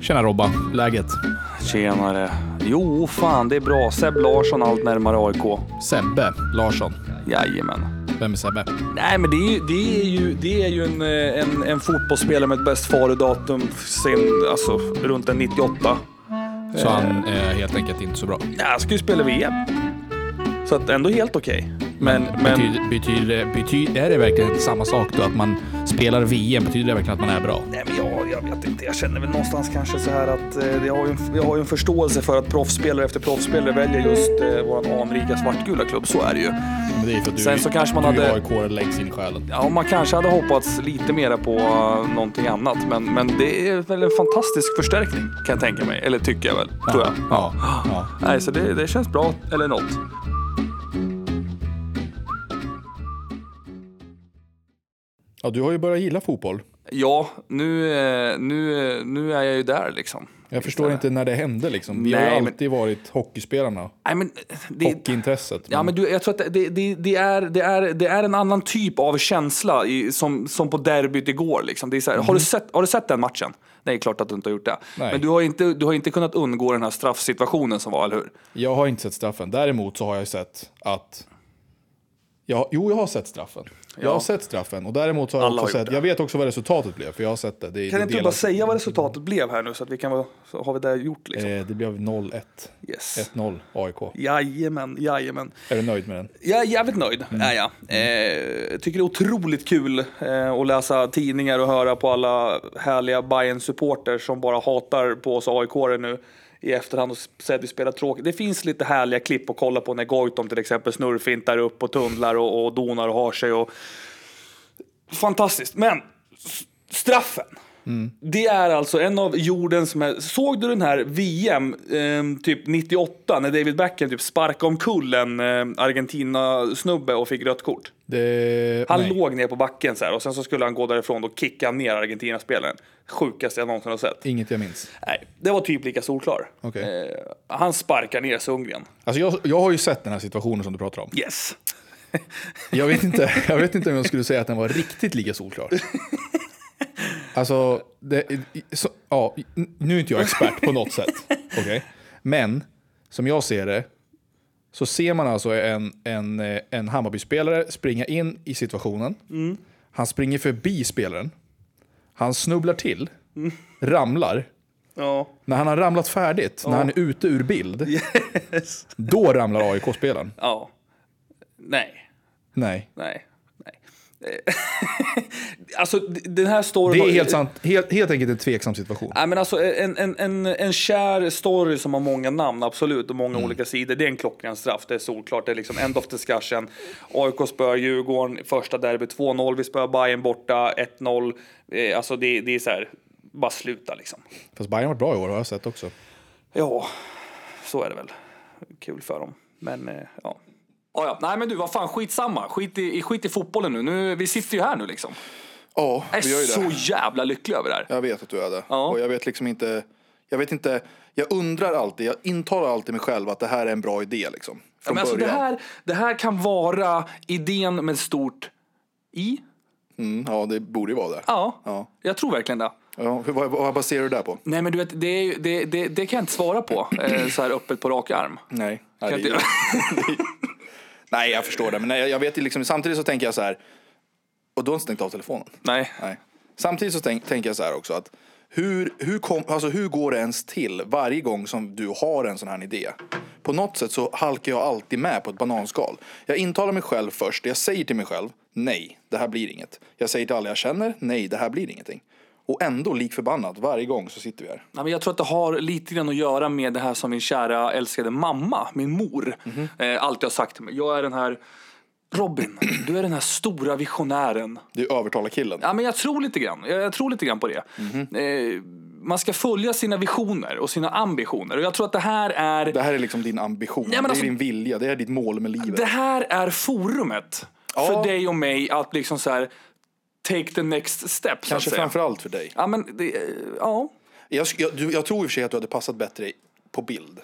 Tjena Robban, läget? Tjenare. Jo, fan det är bra. Seb Larsson allt närmare AIK. Sebbe Larsson. Jajamän. Vem är Sebbe? Nej, men det är ju, det är ju, det är ju en, eh, en, en fotbollsspelare med ett bäst före-datum sen alltså, runt en 98. Så han är helt enkelt inte så bra. Nej, han ska ju spela VM. Så att ändå helt okej. Men, men Betyder, betyder, betyder, är det verkligen samma sak då? Att man spelar VM, betyder det verkligen att man är bra? Nej, men jag, jag vet inte. Jag känner väl någonstans kanske så här att eh, jag har ju en, jag har ju en förståelse för att proffsspelare efter proffsspelare väljer just eh, vår anrika svartgula klubb. Så är det ju. Men det är för att du, Sen så kanske man du hade- är aik längs in i själen. Ja, man kanske hade hoppats lite mera på eh, någonting annat, men, men det är väl en fantastisk förstärkning kan jag tänka mig. Eller tycker jag väl, tror jag. Ja, ja. Nej, så det, det känns bra, eller något. ja, du har ju börjat gilla fotboll. Ja, nu, eh, nu, eh, nu är jag ju där liksom. Jag förstår inte när det hände liksom. Vi har Nej, ju men- alltid varit hockeyspelarna. Nej, men eh, det, Hockeyintresset. Ja, men du, jag tror att det, det, det, är, det, är, det är en annan typ av känsla i, som, som på derbyt igår. Liksom. Det är så här, har, du sett, har du sett den matchen? Nej, klart att du inte har gjort det. Mhm. Nej. Men du har, inte, du har inte kunnat undgå den här straffsituationen som var, eller hur? Jag har inte sett straffen. Däremot så har jag sett att... Jag, jo, jag har sett straffen. Jag har sett straffen. Och däremot så har jag Alla också har gjort sett... Jag vet också vad resultatet blev, för jag har sett det. Det, Kan det, inte du bara delas- säga vad resultatet blev här nu så att vi kan vara, så har vi det gjort liksom? eh, det blev 0-1. Yes. 1-0 AIK. Jajamän, jajamän. Är du nöjd med den? Jag är jävligt nöjd. Är jag. Eh, tycker det är otroligt kul eh, att läsa tidningar och höra på alla härliga bayern supporter som bara hatar på oss aik nu i efterhand och säger att vi spelar tråkigt. Det finns lite härliga klipp att kolla på när Goitom till exempel snurrfintar upp och tunnlar och, och donar och har sig. Och... Fantastiskt. Men s- straffen. Det är alltså en av jordens mest... Såg du den här VM, eh, typ 98, när David Beckham typ sparkade omkull en eh, Argentina-snubbe och fick rött kort? Det, Han nej. låg ner på backen så här, och sen så skulle han gå därifrån och kicka ner Argentina-spelaren. Sjukaste jag någonsin har sett. Inget jag minns. Nej, det var typ lika solklar. Okej. Eh, han sparkar ner Sundgren. Alltså jag, jag har ju sett den här situationen som du pratar om. Yes. Jag vet inte, jag vet inte om jag skulle säga att den var riktigt lika solklar. Alltså, det, så, ja, nu är inte jag expert på något sätt. okej? Men som jag ser det så ser man alltså en, en, eh, en Hammarby-spelare springa in i situationen. Han springer förbi spelaren. Han snubblar till, ramlar. Ja. När han har ramlat färdigt, när han är ute ur bild, Yes. då ramlar AIK-spelaren. Ja. Nej. Nej. Nej. Nej. Eh, alltså d- den här storyn... Det är helt, sant, helt, helt enkelt en tveksam situation. Nej, men alltså, en, en, en, en kär story som har många namn, absolut, och många Mm. olika sidor. Det är en klockren straff, det är solklart. Det är liksom end of discussion. AIK spöar Djurgården, första derby 2-0. Vi spöar Bayern borta, 1-0. Eh, Alltså det, det är så här, bara sluta liksom. Fast Bayern har varit bra i år har jag sett också. Ja, så är det väl. Kul för dem. Men eh, ja. Ja, ja. Nej men du, vad fan, skitsamma. Skit i, i- skit i fotbollen nu. nu. Vi sitter ju här nu liksom. Ja, Jag är vi gör ju så det. jävla lycklig över det här. Jag vet att du är det. Ja. Och jag vet liksom inte... Jag vet inte... Jag undrar alltid, jag intalar alltid mig själv att det här är en bra idé liksom. Ja, Från men alltså, det, början. här, det här kan vara idén med stort i. Mm, ja, det borde ju vara det. Ja, Ja. jag tror verkligen det. Ja, hur, vad, vad baserar du det här på? Nej men du vet, det, är, ju- det, det, det kan jag inte svara på eh, så här öppet på rak arm. Nej. Kan Nej, inte det, jag- nej jag förstår det. Men nej, jag vet ju liksom, samtidigt så tänker jag så här... Och du har inte stängt av telefonen? Nej. Nej. Samtidigt så tänk, tänker jag så här också att hur, hur, kom, alltså hur går det ens till varje gång som du har en sån här idé? På något sätt så halkar jag alltid med på ett bananskal. Jag intalar mig själv först, jag säger till mig själv nej, det här blir inget. Jag säger till alla jag känner, nej, det här blir ingenting. Och ändå lik förbannat, varje gång så sitter vi här. Nej, men jag tror att det har lite grann att göra med det här som min kära älskade mamma, min mor, eh, alltid har sagt till mig. Jag är den här Robin, du är den här stora visionären. Det är övertala killen. Ja, men jag tror lite grann. Jag, jag tror lite grann på det. Eh, man ska följa sina visioner och sina ambitioner. Och jag tror att det här är Det här är liksom din ambition, men det alltså- är din vilja, det är ditt mål med livet. det här är forumet för dig och mig att liksom så här take the next step. så att Kanske säga. framförallt för dig. Ja, men det, eh, ja. Jag, sk- jag, du, jag tror i och för sig att du hade passat bättre i- på bild.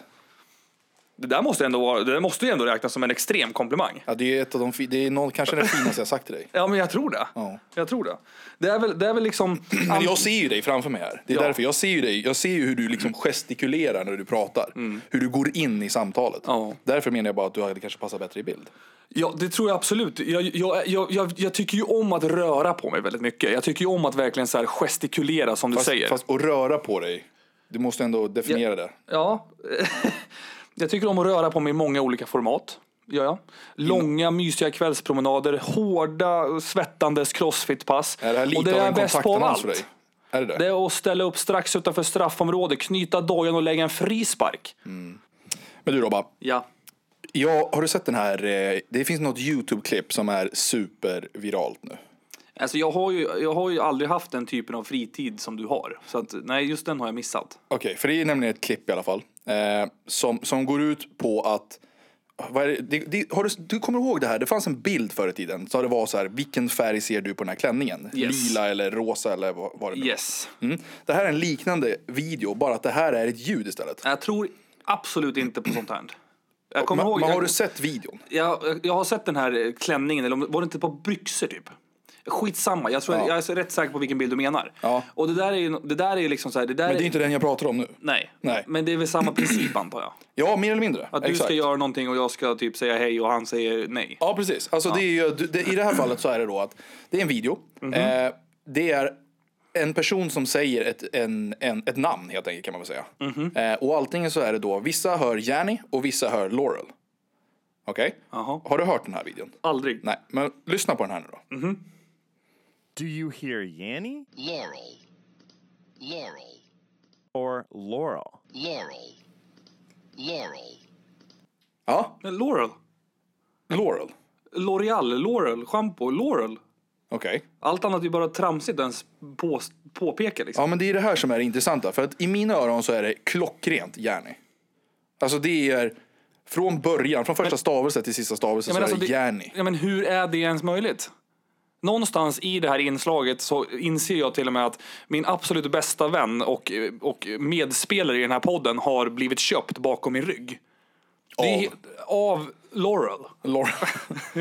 Det där måste, ändå vara, det där måste ju ändå räknas som en extrem komplimang. Ja, det är, ju ett av de, fi- det är någon, kanske det finaste jag sagt till dig. Ja, men jag tror det. Ja. Jag tror det. Det är väl, det är väl liksom... Men jag ser ju dig framför mig här. Det är Ja. därför jag ser ju dig. Jag ser ju hur du liksom gestikulerar när du pratar. Hur du går in i samtalet. Mm. Ja. Därför menar jag bara att du hade kanske passat bättre i bild. Ja, det tror jag absolut. Jag, jag, jag, jag, jag tycker ju om att röra på mig väldigt mycket. Jag tycker ju om att verkligen så här gestikulera som du Fast, säger. fast att röra på dig. Du måste ändå definiera det. Ja, jag tycker om att röra på mig i många olika format. Gör jag. Långa mysiga kvällspromenader, hårda svettandes crossfitpass. Är det här lite och det av är en jag bäst på av kontaktannons för dig? allt. Är det det? Det är att ställa upp strax utanför straffområdet, knyta dojan och lägga en frispark. Mm. Men du Robban. Ja. Ja, har du sett den här? eh, Det finns något YouTube-klipp som är superviralt nu. Alltså jag, har ju, jag har ju aldrig haft den typen av fritid som du har. Så att, nej, just den har jag missat. Okej, för det är nämligen ett klipp i alla fall. Eh, som, som går ut på att... Vad är det, det, det, har du, du kommer ihåg det här? Det fanns en bild förr i tiden. Så det var så här, vilken färg ser du på den här klänningen? Yes. Lila eller rosa eller vad, vad det nu Yes. mm. Det här är en liknande video, bara att det här är ett ljud istället. Jag tror absolut inte på sånt här. Jag kommer Men, ihåg, men har jag- du sett videon? jag, jag har sett den här eh, klänningen, eller om- var det inte på byxor typ? Skitsamma, jag, tror, Ja. jag är så rätt säker på vilken bild du menar. Ja. Och det där är ju det där är ju liksom så här, det där Men det är är- inte den jag pratar om nu. nej. Nej. Men det är väl samma princip antar jag? Ja, mer eller mindre. Att du ska göra någonting och jag ska typ säga hej och han säger nej. Ja, precis. Alltså, Det är ju, det, I det här fallet så är det då att det är en video. Eh, det är en person som säger ett, en, en, ett namn helt enkelt kan man väl säga. Eh, och allting så är det då, vissa hör Janny och vissa hör Laurel. Okej? Jaha. Har du hört den här videon? Aldrig. Nej, men lyssna på den här nu då. Do you hear Yanny Laurel. Laurel. or Laurel? Laurel. Laurel. Ja, Men Laurel. Laurel. L'Oreal, Laurel, shampoo, Laurel. Okej. Allt annat är ju bara tramsigt att ens på, påpeka liksom. Ja, men det är det här som är det intressanta. För att i mina öron så är det klockrent Janny. Alltså det är från början, från första stavelsen till sista stavelsen så är det Janny. ja, men alltså, hur är det ens möjligt? Någonstans i det här inslaget så inser jag till och med att min absolut bästa vän och, och medspelare i den här podden har blivit köpt bakom min rygg. Det är, av Laurel. Laura.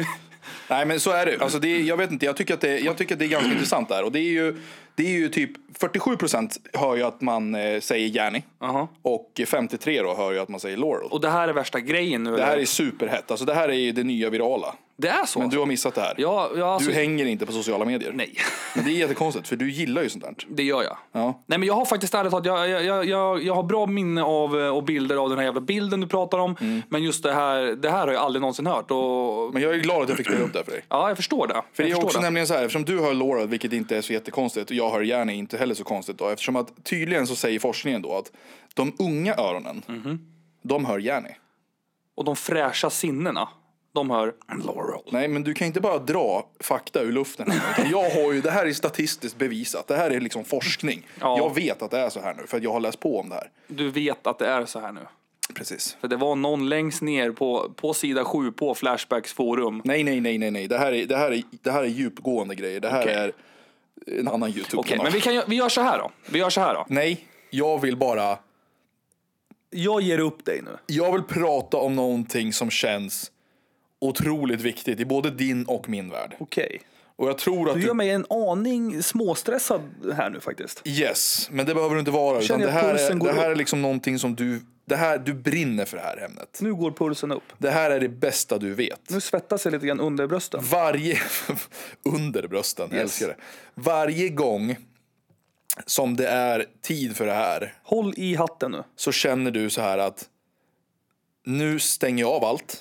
Nej men så är det. Alltså, det är, jag vet inte, jag tycker att det, jag tycker att det är ganska intressant där. Och det är ju, det är ju typ 47 procent hör ju att man eh, säger Janny. Jaha. Och 53 då hör ju att man säger Laurel. Och det här är värsta grejen nu. det här är superhett. Alltså det här är ju det nya virala. det är så? Men du har missat det här. ja, ja, alltså, Du hänger inte på sociala medier. Nej, Men det är jättekonstigt för du gillar ju sånt där. det gör jag. Ja. Nej men jag har faktiskt ärligt talat, jag, jag- jag, jag, jag har bra minne av eh, och bilder av den här jävla bilden du pratar om. Men just det här, det här har jag aldrig någonsin hört. Och, Mm. Men jag är glad att jag fick spela upp det här för dig. ja, jag förstår det. För det är jag förstår också det. nämligen så här, eftersom du hör Laurel, vilket inte är så jättekonstigt, och jag hör Janny, inte heller så konstigt då, eftersom att tydligen så säger forskningen då att de unga öronen, Mhm. de hör Janny. och de fräscha sinnena. De hör Laurel. Nej, men du kan inte bara dra fakta ur luften. här, utan jag har ju, det här är statistiskt bevisat, det här är liksom forskning. Ja. Jag vet att det är så här nu, för att jag har läst på om det här. Du vet att det är så här nu. Precis. För det var någon längst ner på, på sida 7 på Flashbacks forum. Nej, nej, nej, nej, nej, det här är, det här är, det här är djupgående grejer, det här Okej. är en annan Okej, YouTube-kanal. men vi, kan, gö- vi gör så här då. Vi gör så här då. Nej, jag vill bara Jag ger upp dig nu. Jag vill prata om någonting som känns otroligt viktigt i både din och min värld. Okej. Och jag tror att Du gör du... mig en aning småstressad här nu faktiskt. Yes, men det behöver du inte vara. Utan Känner det jag här, är, pulsen går det här är upp? liksom någonting som du... Det här, du brinner för det här ämnet. Nu går pulsen upp. Det här är det bästa du vet. Nu svettas jag lite grann under brösten. Varje... under brösten, jag Yes. älskar det. Varje gång som det är tid för det här Håll i hatten nu. så känner du så här att nu stänger jag av allt.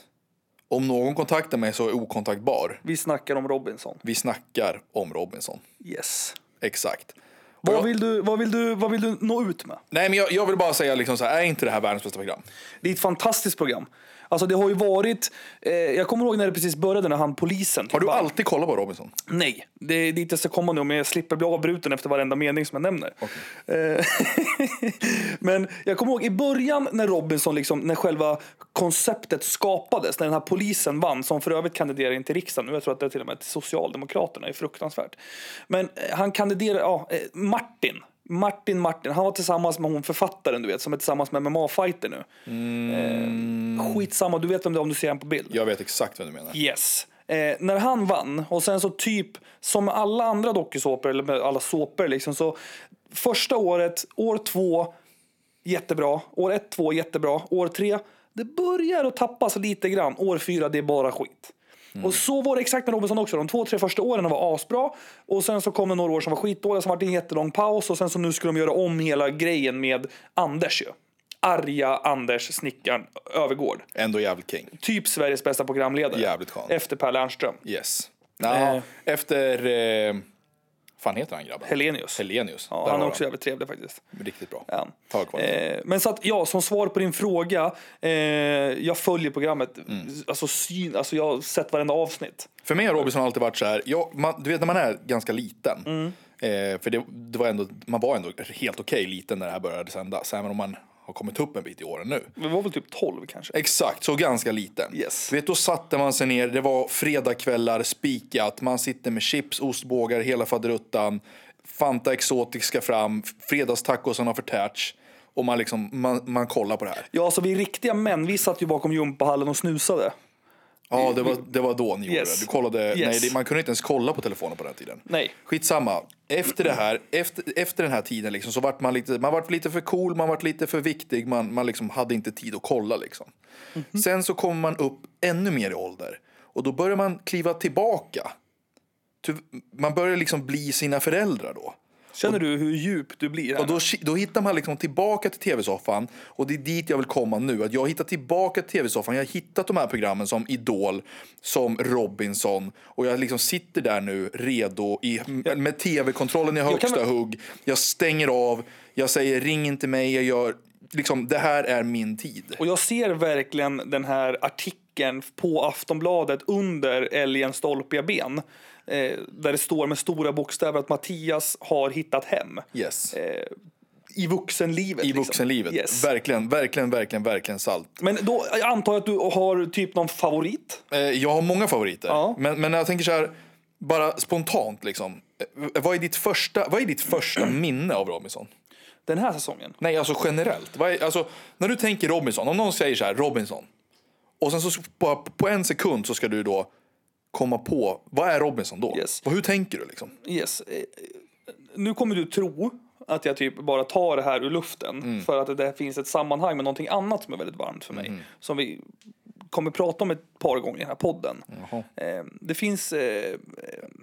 Om någon kontaktar mig så är jag okontaktbar. Vi snackar om Robinson. Vi snackar om Robinson. Yes. Exakt. Vad jag- vill, du, vad, vill du, vad vill du nå ut med? Nej, men jag, jag vill bara säga liksom så här, är inte det här världens bästa program? Det är ett fantastiskt program. Alltså det har ju varit, eh, jag kommer ihåg när det precis började när han polisen. Har du alltid kollat på Robinson? Nej, det är dit jag ska komma nu om jag slipper bli avbruten efter varenda mening som jag nämner. Eh, Men jag kommer ihåg i början när Robinson, liksom, när själva konceptet skapades, när den här polisen vann, som för övrigt kandiderar in till riksdagen nu, jag tror att det är till och med till Socialdemokraterna, det är fruktansvärt. Men eh, han kandiderar, ja, eh, Martin Martin Martin, han var tillsammans med hon författaren du vet som är tillsammans med MMA-fighter nu. Eh, skitsamma, du vet vem det är om du ser honom på bild. Jag vet exakt vad du menar. Yes. Eh, när han vann, och sen så typ som med alla andra dokusåpor, eller med alla såpor liksom, så första året, år två, jättebra. År ett, två, jättebra. År tre, det börjar att tappas lite grann. År fyra, det är bara skit. Och så var det exakt med Robinson också. De två, tre första åren var asbra. Och sen så kom det några år som var skitdåliga, som var det en jättelång paus. Och sen så nu skulle de göra om hela grejen med Anders ju. Arga Anders, snickaren, Övergård Ändå jävligt king. typ Sveriges bästa programledare. Jävligt skön. Efter Per Lernström. Yes. Nå, Eh. Efter... Eh, fan heter han grabben? Helenius. Helenius. ja, Där han är har också jävligt trevlig faktiskt. Riktigt bra. Ja. Tag kvar. Eh, men så att, ja, som svar på din fråga. Eh, jag följer programmet. Mm. Alltså, syn, alltså, jag har sett varenda avsnitt. För mig har Robinson alltid varit så här, jag, man, du vet när man är ganska liten. Mm. Eh, för det, det var ändå, man var ändå helt okej liten när det här började sändas. Även om man har kommit upp en bit i åren nu. Vi var väl typ 12 kanske. Exakt, så ganska liten. Yes. Du vet, då satte man sig ner, det var fredagkvällar, spikat, man sitter med chips, ostbågar, hela faderuttan, Fanta Exotic ska fram, fredagstacosarna har förtärts och man, liksom, man, man kollar på det här. Ja, så vi är riktiga män. Vi satt ju bakom gympahallen och snusade. Ja, det var, det var då ni gjorde Eh, Yes. det. Du kollade, nej, Yes. det, man kunde inte ens kolla på telefonen på den här tiden. Nej. Skitsamma. Efter det här, efter, efter den här tiden liksom, så vart man lite, man vart lite för cool, man vart lite för viktig, man, man liksom hade inte tid att kolla liksom. Mhm. Sen så kommer man upp ännu mer i ålder och då börjar man kliva tillbaka. Ty- Man börjar liksom bli sina föräldrar då. Känner du hur djup du blir? Här? Och då, ki- då hittar man liksom tillbaka till tv-soffan och det är dit jag vill komma nu. Att jag har hittat tillbaka till tv-soffan. Jag har hittat de här programmen som Idol, som Robinson och jag liksom sitter där nu redo i, med tv-kontrollen i högsta väl- hugg. Jag stänger av, jag säger ring inte mig, jag gör liksom det här är min tid. Och jag ser verkligen den här artikeln på Aftonbladet under Älgens stolpiga ben. Eh, där det står med stora bokstäver att Mattias har hittat hem. Yes. I vuxenlivet. I Eh, liksom. vuxenlivet. Yes. Verkligen, verkligen, verkligen, verkligen salt. Men då jag antar jag att du har typ någon favorit. Eh, Jag har många favoriter. Ja. Men, men jag tänker så här, bara spontant liksom. Eh, Vad är ditt första, vad är ditt första minne av Robinson? Den här säsongen. Nej, alltså generellt. Vad är, alltså, när du tänker Robinson, om någon säger så här, Robinson. Och sen så på, på en sekund så ska du då komma på, vad är Robinson då? Yes. Och hur tänker du liksom? Yes. Eh, eh, Nu kommer du tro att jag typ bara tar det här ur luften. För att det där finns ett sammanhang med någonting annat som är väldigt varmt för mig. Som vi kommer prata om ett par gånger i den här podden. Eh, Det finns... eh,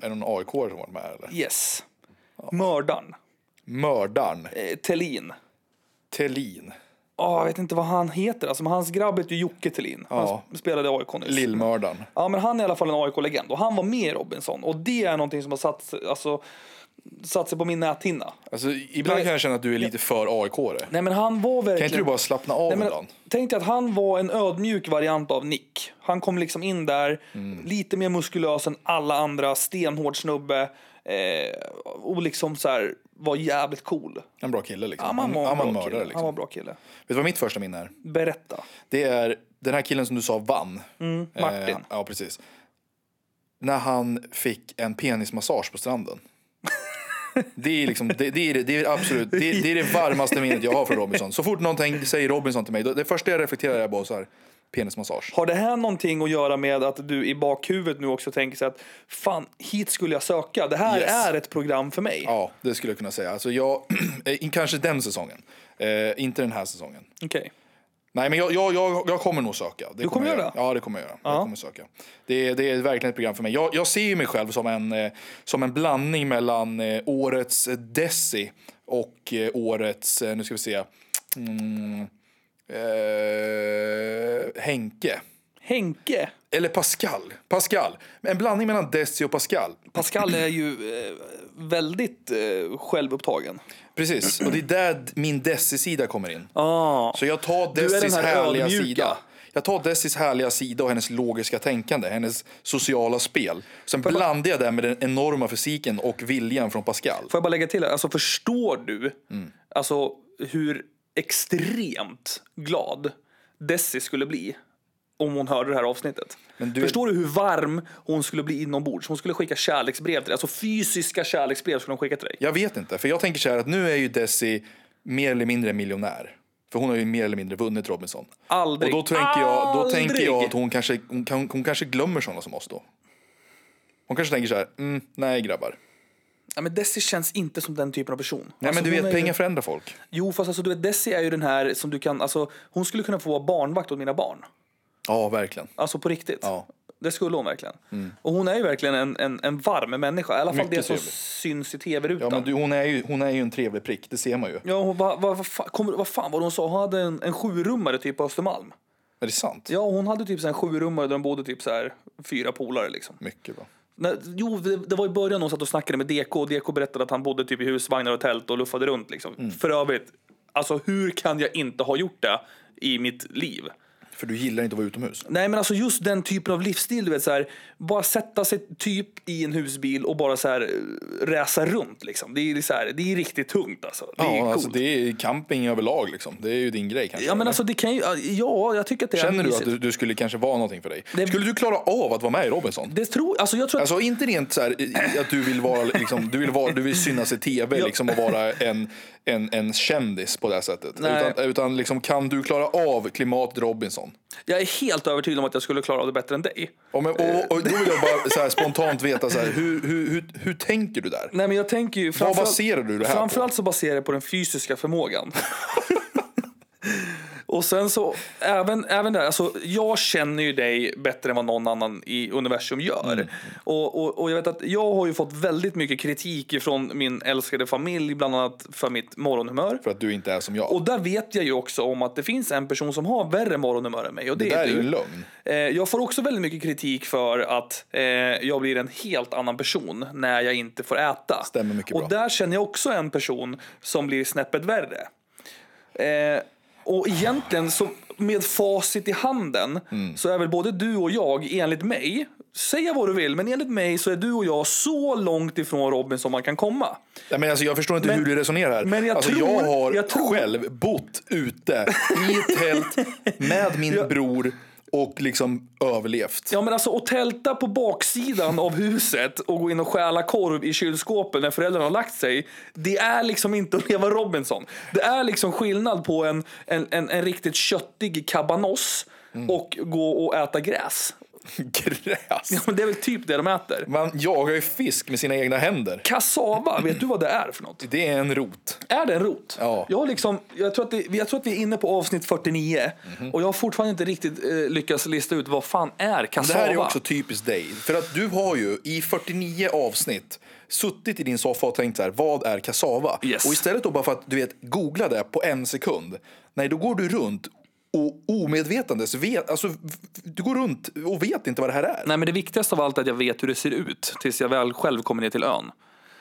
Är det någon aik som varit med här, eller? Yes. Mördaren. Mördaren, Eh, Tellin. Tellin, Ja, jag vet inte vad han heter. Alltså, men hans grabb heter ju Jocke Tellin. Han Ja. sp- spelade i AIK nyss. Lillmördaren. Ja, men han är i alla fall en AIK-legend och han var med i Robinson. Och det är någonting som har satt, alltså, satt sig på min näthinna. Alltså, ibland Nej. kan jag känna att du är lite för aik Kan Nej, men han var verkligen... inte du bara slappna av Nej, men, ibland? tänk dig att han var en ödmjuk variant av Nick. Han kom liksom in där, Mm. lite mer muskulös än alla andra, stenhård snubbe. Eh, och liksom så här, var jävligt cool. En bra kille liksom. Ja, men han var en han var en bra kille. mördare liksom. Han var en bra kille. Vet du vad mitt första minne är? Berätta. Det är den här killen som du sa vann. Martin. Eh, ja, precis. När han fick en penismassage på stranden. Det är, liksom, det, det, är, det, det är absolut det, det är det varmaste minnet jag har från Robinson. Så fort någonting säger Robinson till mig, då, det första jag reflekterar är bara så här, penismassage. Har det här någonting att göra med att du i bakhuvudet nu också tänker så att fan, hit skulle jag söka. Det här Yes. är ett program för mig. Ja, det skulle jag kunna säga. Alltså jag, eh, kanske den säsongen, eh, inte den här säsongen. Okej. Nej, men jag, jag, jag, jag kommer nog söka. Det du kommer jag göra? Ja, det kommer jag göra. Jag kommer söka. Det, är- det är verkligen ett program för mig. Jag, jag ser ju mig själv som en, eh, som en blandning mellan eh, årets eh, Desi och eh, årets, eh, nu ska vi se, mm, eh, Henke. Henke. Eller Pascal. Pascal. En blandning mellan Desi och Pascal. Pascal är ju eh, väldigt eh, självupptagen. Precis, och det är där min Desi-sida kommer in. Ah. Så jag tar är den Dessis här härliga ödmjuka. sida. Jag tar Dessis härliga sida och hennes logiska tänkande, hennes sociala spel. Sen blandar jag det med den enorma fysiken och viljan från Pascal. Får jag bara lägga till här? Alltså förstår du Mm. alltså, hur extremt glad Desi skulle bli om hon hörde det här avsnittet. Men du- Förstår du hur varm hon skulle bli inombords? Hon skulle skicka kärleksbrev till dig. Alltså fysiska kärleksbrev skulle hon skicka till dig. Jag vet inte, för jag tänker så här att nu är ju Desi mer eller mindre miljonär. För hon har ju mer eller mindre vunnit Robinson. Aldrig. Och då tänker jag, då tänker jag Aldrig. att hon kanske, hon, kan, hon kanske glömmer sådana som oss då. Hon kanske tänker så här, mm, nej grabbar. Ja, men Desi känns inte som den typen av person. Nej Alltså, men du hon vet, är ju- pengar förändrar folk. Jo, fast alltså, du vet, Desi är ju den här som du kan... Alltså, hon skulle kunna få vara barnvakt åt mina barn. Ja, verkligen. Alltså på riktigt. Ja. Mm. Det skulle hon verkligen. Och hon är ju verkligen en, en, en varm människa. I alla fall Mycket det som trevlig. syns i tv-rutan. Ja, men du, hon, är ju, hon är ju en trevlig prick, det ser man ju. Ja, hon bara, vad, vad, fan, kommer, vad fan var det hon sa? Hon hade en, en sjurummare typ på Östermalm. Är det sant? Ja, hon hade typ så här en sjurummare där de bodde typ så här fyra polare liksom. Mycket bra. Nej, jo, det, det var i början hon satt och snackade med DK och DK berättade att han bodde typ i husvagnar och tält och luffade runt liksom. Mm. För övrigt, alltså hur kan jag inte ha gjort det i mitt liv? För du gillar inte att vara utomhus. Nej men alltså just den typen av livsstil, du vet så här, bara sätta sig typ i en husbil och bara så här eh, räsa runt liksom. Det är, så här, det är riktigt tungt alltså. Det är ja, coolt. alltså, det är camping överlag liksom. Det är ju din grej kanske. Ja men eller? alltså det kan ju, ja jag tycker att det är Känner du att mysigt. du, du skulle kanske vara någonting för dig? Det- Skulle du klara av att vara med i Robinson? Det tror, alltså jag tror att Alltså inte rent så här i- att du vill vara liksom, du vill vara, du vill synas i tv Ja. liksom och vara en, en, en kändis på det här sättet. Nej. Utan, utan liksom kan du klara av klimat Robinson? jag är helt övertygad om att jag skulle klara av det bättre än dig. Och, men, och, och då vill jag bara så här, spontant veta så här, hur, hur, hur, hur tänker du där? Nej men jag tänker ju framförallt, baserar du det här på? framförallt så baserar jag på den fysiska förmågan. Och sen så, även, även där, alltså jag känner ju dig bättre än vad någon annan i universum gör. Mm. Och, och, och jag vet att jag har ju fått väldigt mycket kritik ifrån min älskade familj, bland annat för mitt morgonhumör. För att du inte är som jag. Och där vet jag ju också om att det finns en person som har värre morgonhumör än mig. Och det, det där är du. ju en lögn. Eh, Jag får också väldigt mycket kritik för att eh, jag blir en helt annan person när jag inte får äta. Stämmer mycket och bra. där känner jag också en person som blir snäppet värre. Eh, och egentligen så med facit i handen Mm. så är väl både du och jag enligt mig, säga vad du vill, men enligt mig så är du och jag så långt ifrån Robin som man kan komma. Nej, men alltså, jag förstår inte Men- hur du resonerar här. men jag alltså, tror- jag har jag tror- själv bott ute i ett tält med min bror och liksom överlevt. Ja men alltså att tälta på baksidan av huset och gå in och stjäla korv i kylskåpen när föräldrarna har lagt sig. Det är liksom inte att leva Robinson. Det är liksom skillnad på en, en, en, en riktigt köttig kabanoss Mm. och gå och äta gräs. Gräs. Ja, men det är väl typ det de äter. Man jagar ju fisk med sina egna händer. Kassava, vet du vad det är för något? Det är en rot. Är det en rot? Ja. Jag, har liksom, jag, tror att det, jag tror att vi är inne på avsnitt 49 Mhm. och jag har fortfarande inte riktigt eh, lyckats lista ut vad fan är Det kassava? här är också typiskt dig. För att du har ju i 49 avsnitt suttit i din soffa och tänkt så här, vad är kassava? Yes. Och istället då bara för att du vet, googla det på en sekund. Nej, då går du runt och omedvetandes vet, alltså v- du går runt och vet inte vad det här är. Nej, men det viktigaste av allt är att jag vet hur det ser ut tills jag väl själv kommer ner till ön.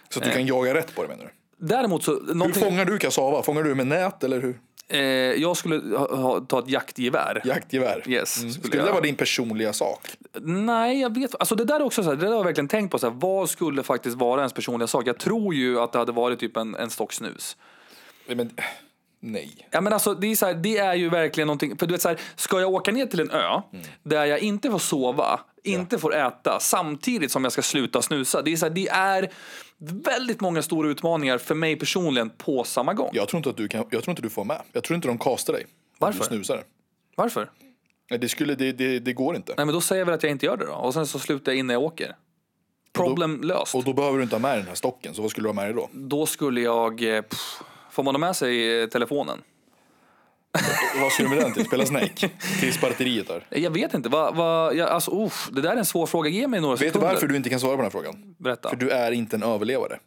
Så att du Eh. kan jaga rätt på det menar du? Däremot så, Hur någonting, fångar du kassava? Fångar du med nät eller hur? eh, jag skulle ha, ha, ta ett jaktgevär. Jaktgevär? Yes, Mm. skulle Skulle det jag- vara din personliga sak? Nej, jag vet alltså det där är också så här, det där har jag verkligen tänkt på. Så här, vad skulle faktiskt vara ens personliga sak? Jag tror ju att det hade varit typ en, en stock snus. Men, nej. Ja, men alltså, det, är så här, det är ju verkligen någonting. För du vet, så här, ska jag åka ner till en ö där jag inte får sova, inte får äta samtidigt som jag ska sluta snusa. Det är, så här, det är väldigt många stora utmaningar för mig personligen på samma gång. Jag tror inte att du kan, jag tror inte du får med. Jag tror inte de kastar dig. om Varför? Du snusar. Varför? Nej, Det, skulle, det, det, det går inte. Nej men då säger jag väl att jag inte gör det då. Och sen så slutar jag innan jag åker. Problem löst. Och då behöver du inte ha med den här stocken. Så vad skulle du ha med dig då? Då skulle jag... eh, Pff, får man ha med sig eh, telefonen? vad skulle du med den till? Spela Snake? Tills batteriet där. Eh, Jag vet inte. Va, va, jag, alltså, uff, det där är en svår fråga. Ge mig några Vet du sekunder. varför du inte kan svara på den här frågan? Berätta. För du är inte en överlevare.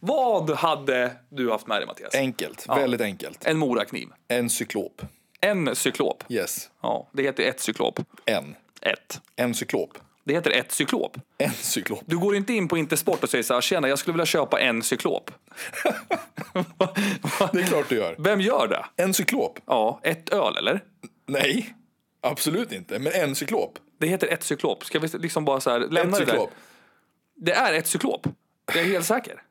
Vad hade du haft med dig Mattias? En, Enkelt. Väldigt enkelt. morakniv. En cyklop. En cyklop. Yes. Ja, det heter ett cyklop. En. Ett. En cyklop. Det heter ett cyklop. En cyklop. Du går inte in på Intersport och säger så här, tjena jag skulle vilja köpa en cyklop. Det är klart du gör. Vem gör det? En cyklop? Ja, ett öl eller? Nej. Absolut inte. Men en cyklop. Det heter ett cyklop. Ska vi liksom bara så här, En lämna det där? cyklop. Det är ett cyklop. Jag är helt säker.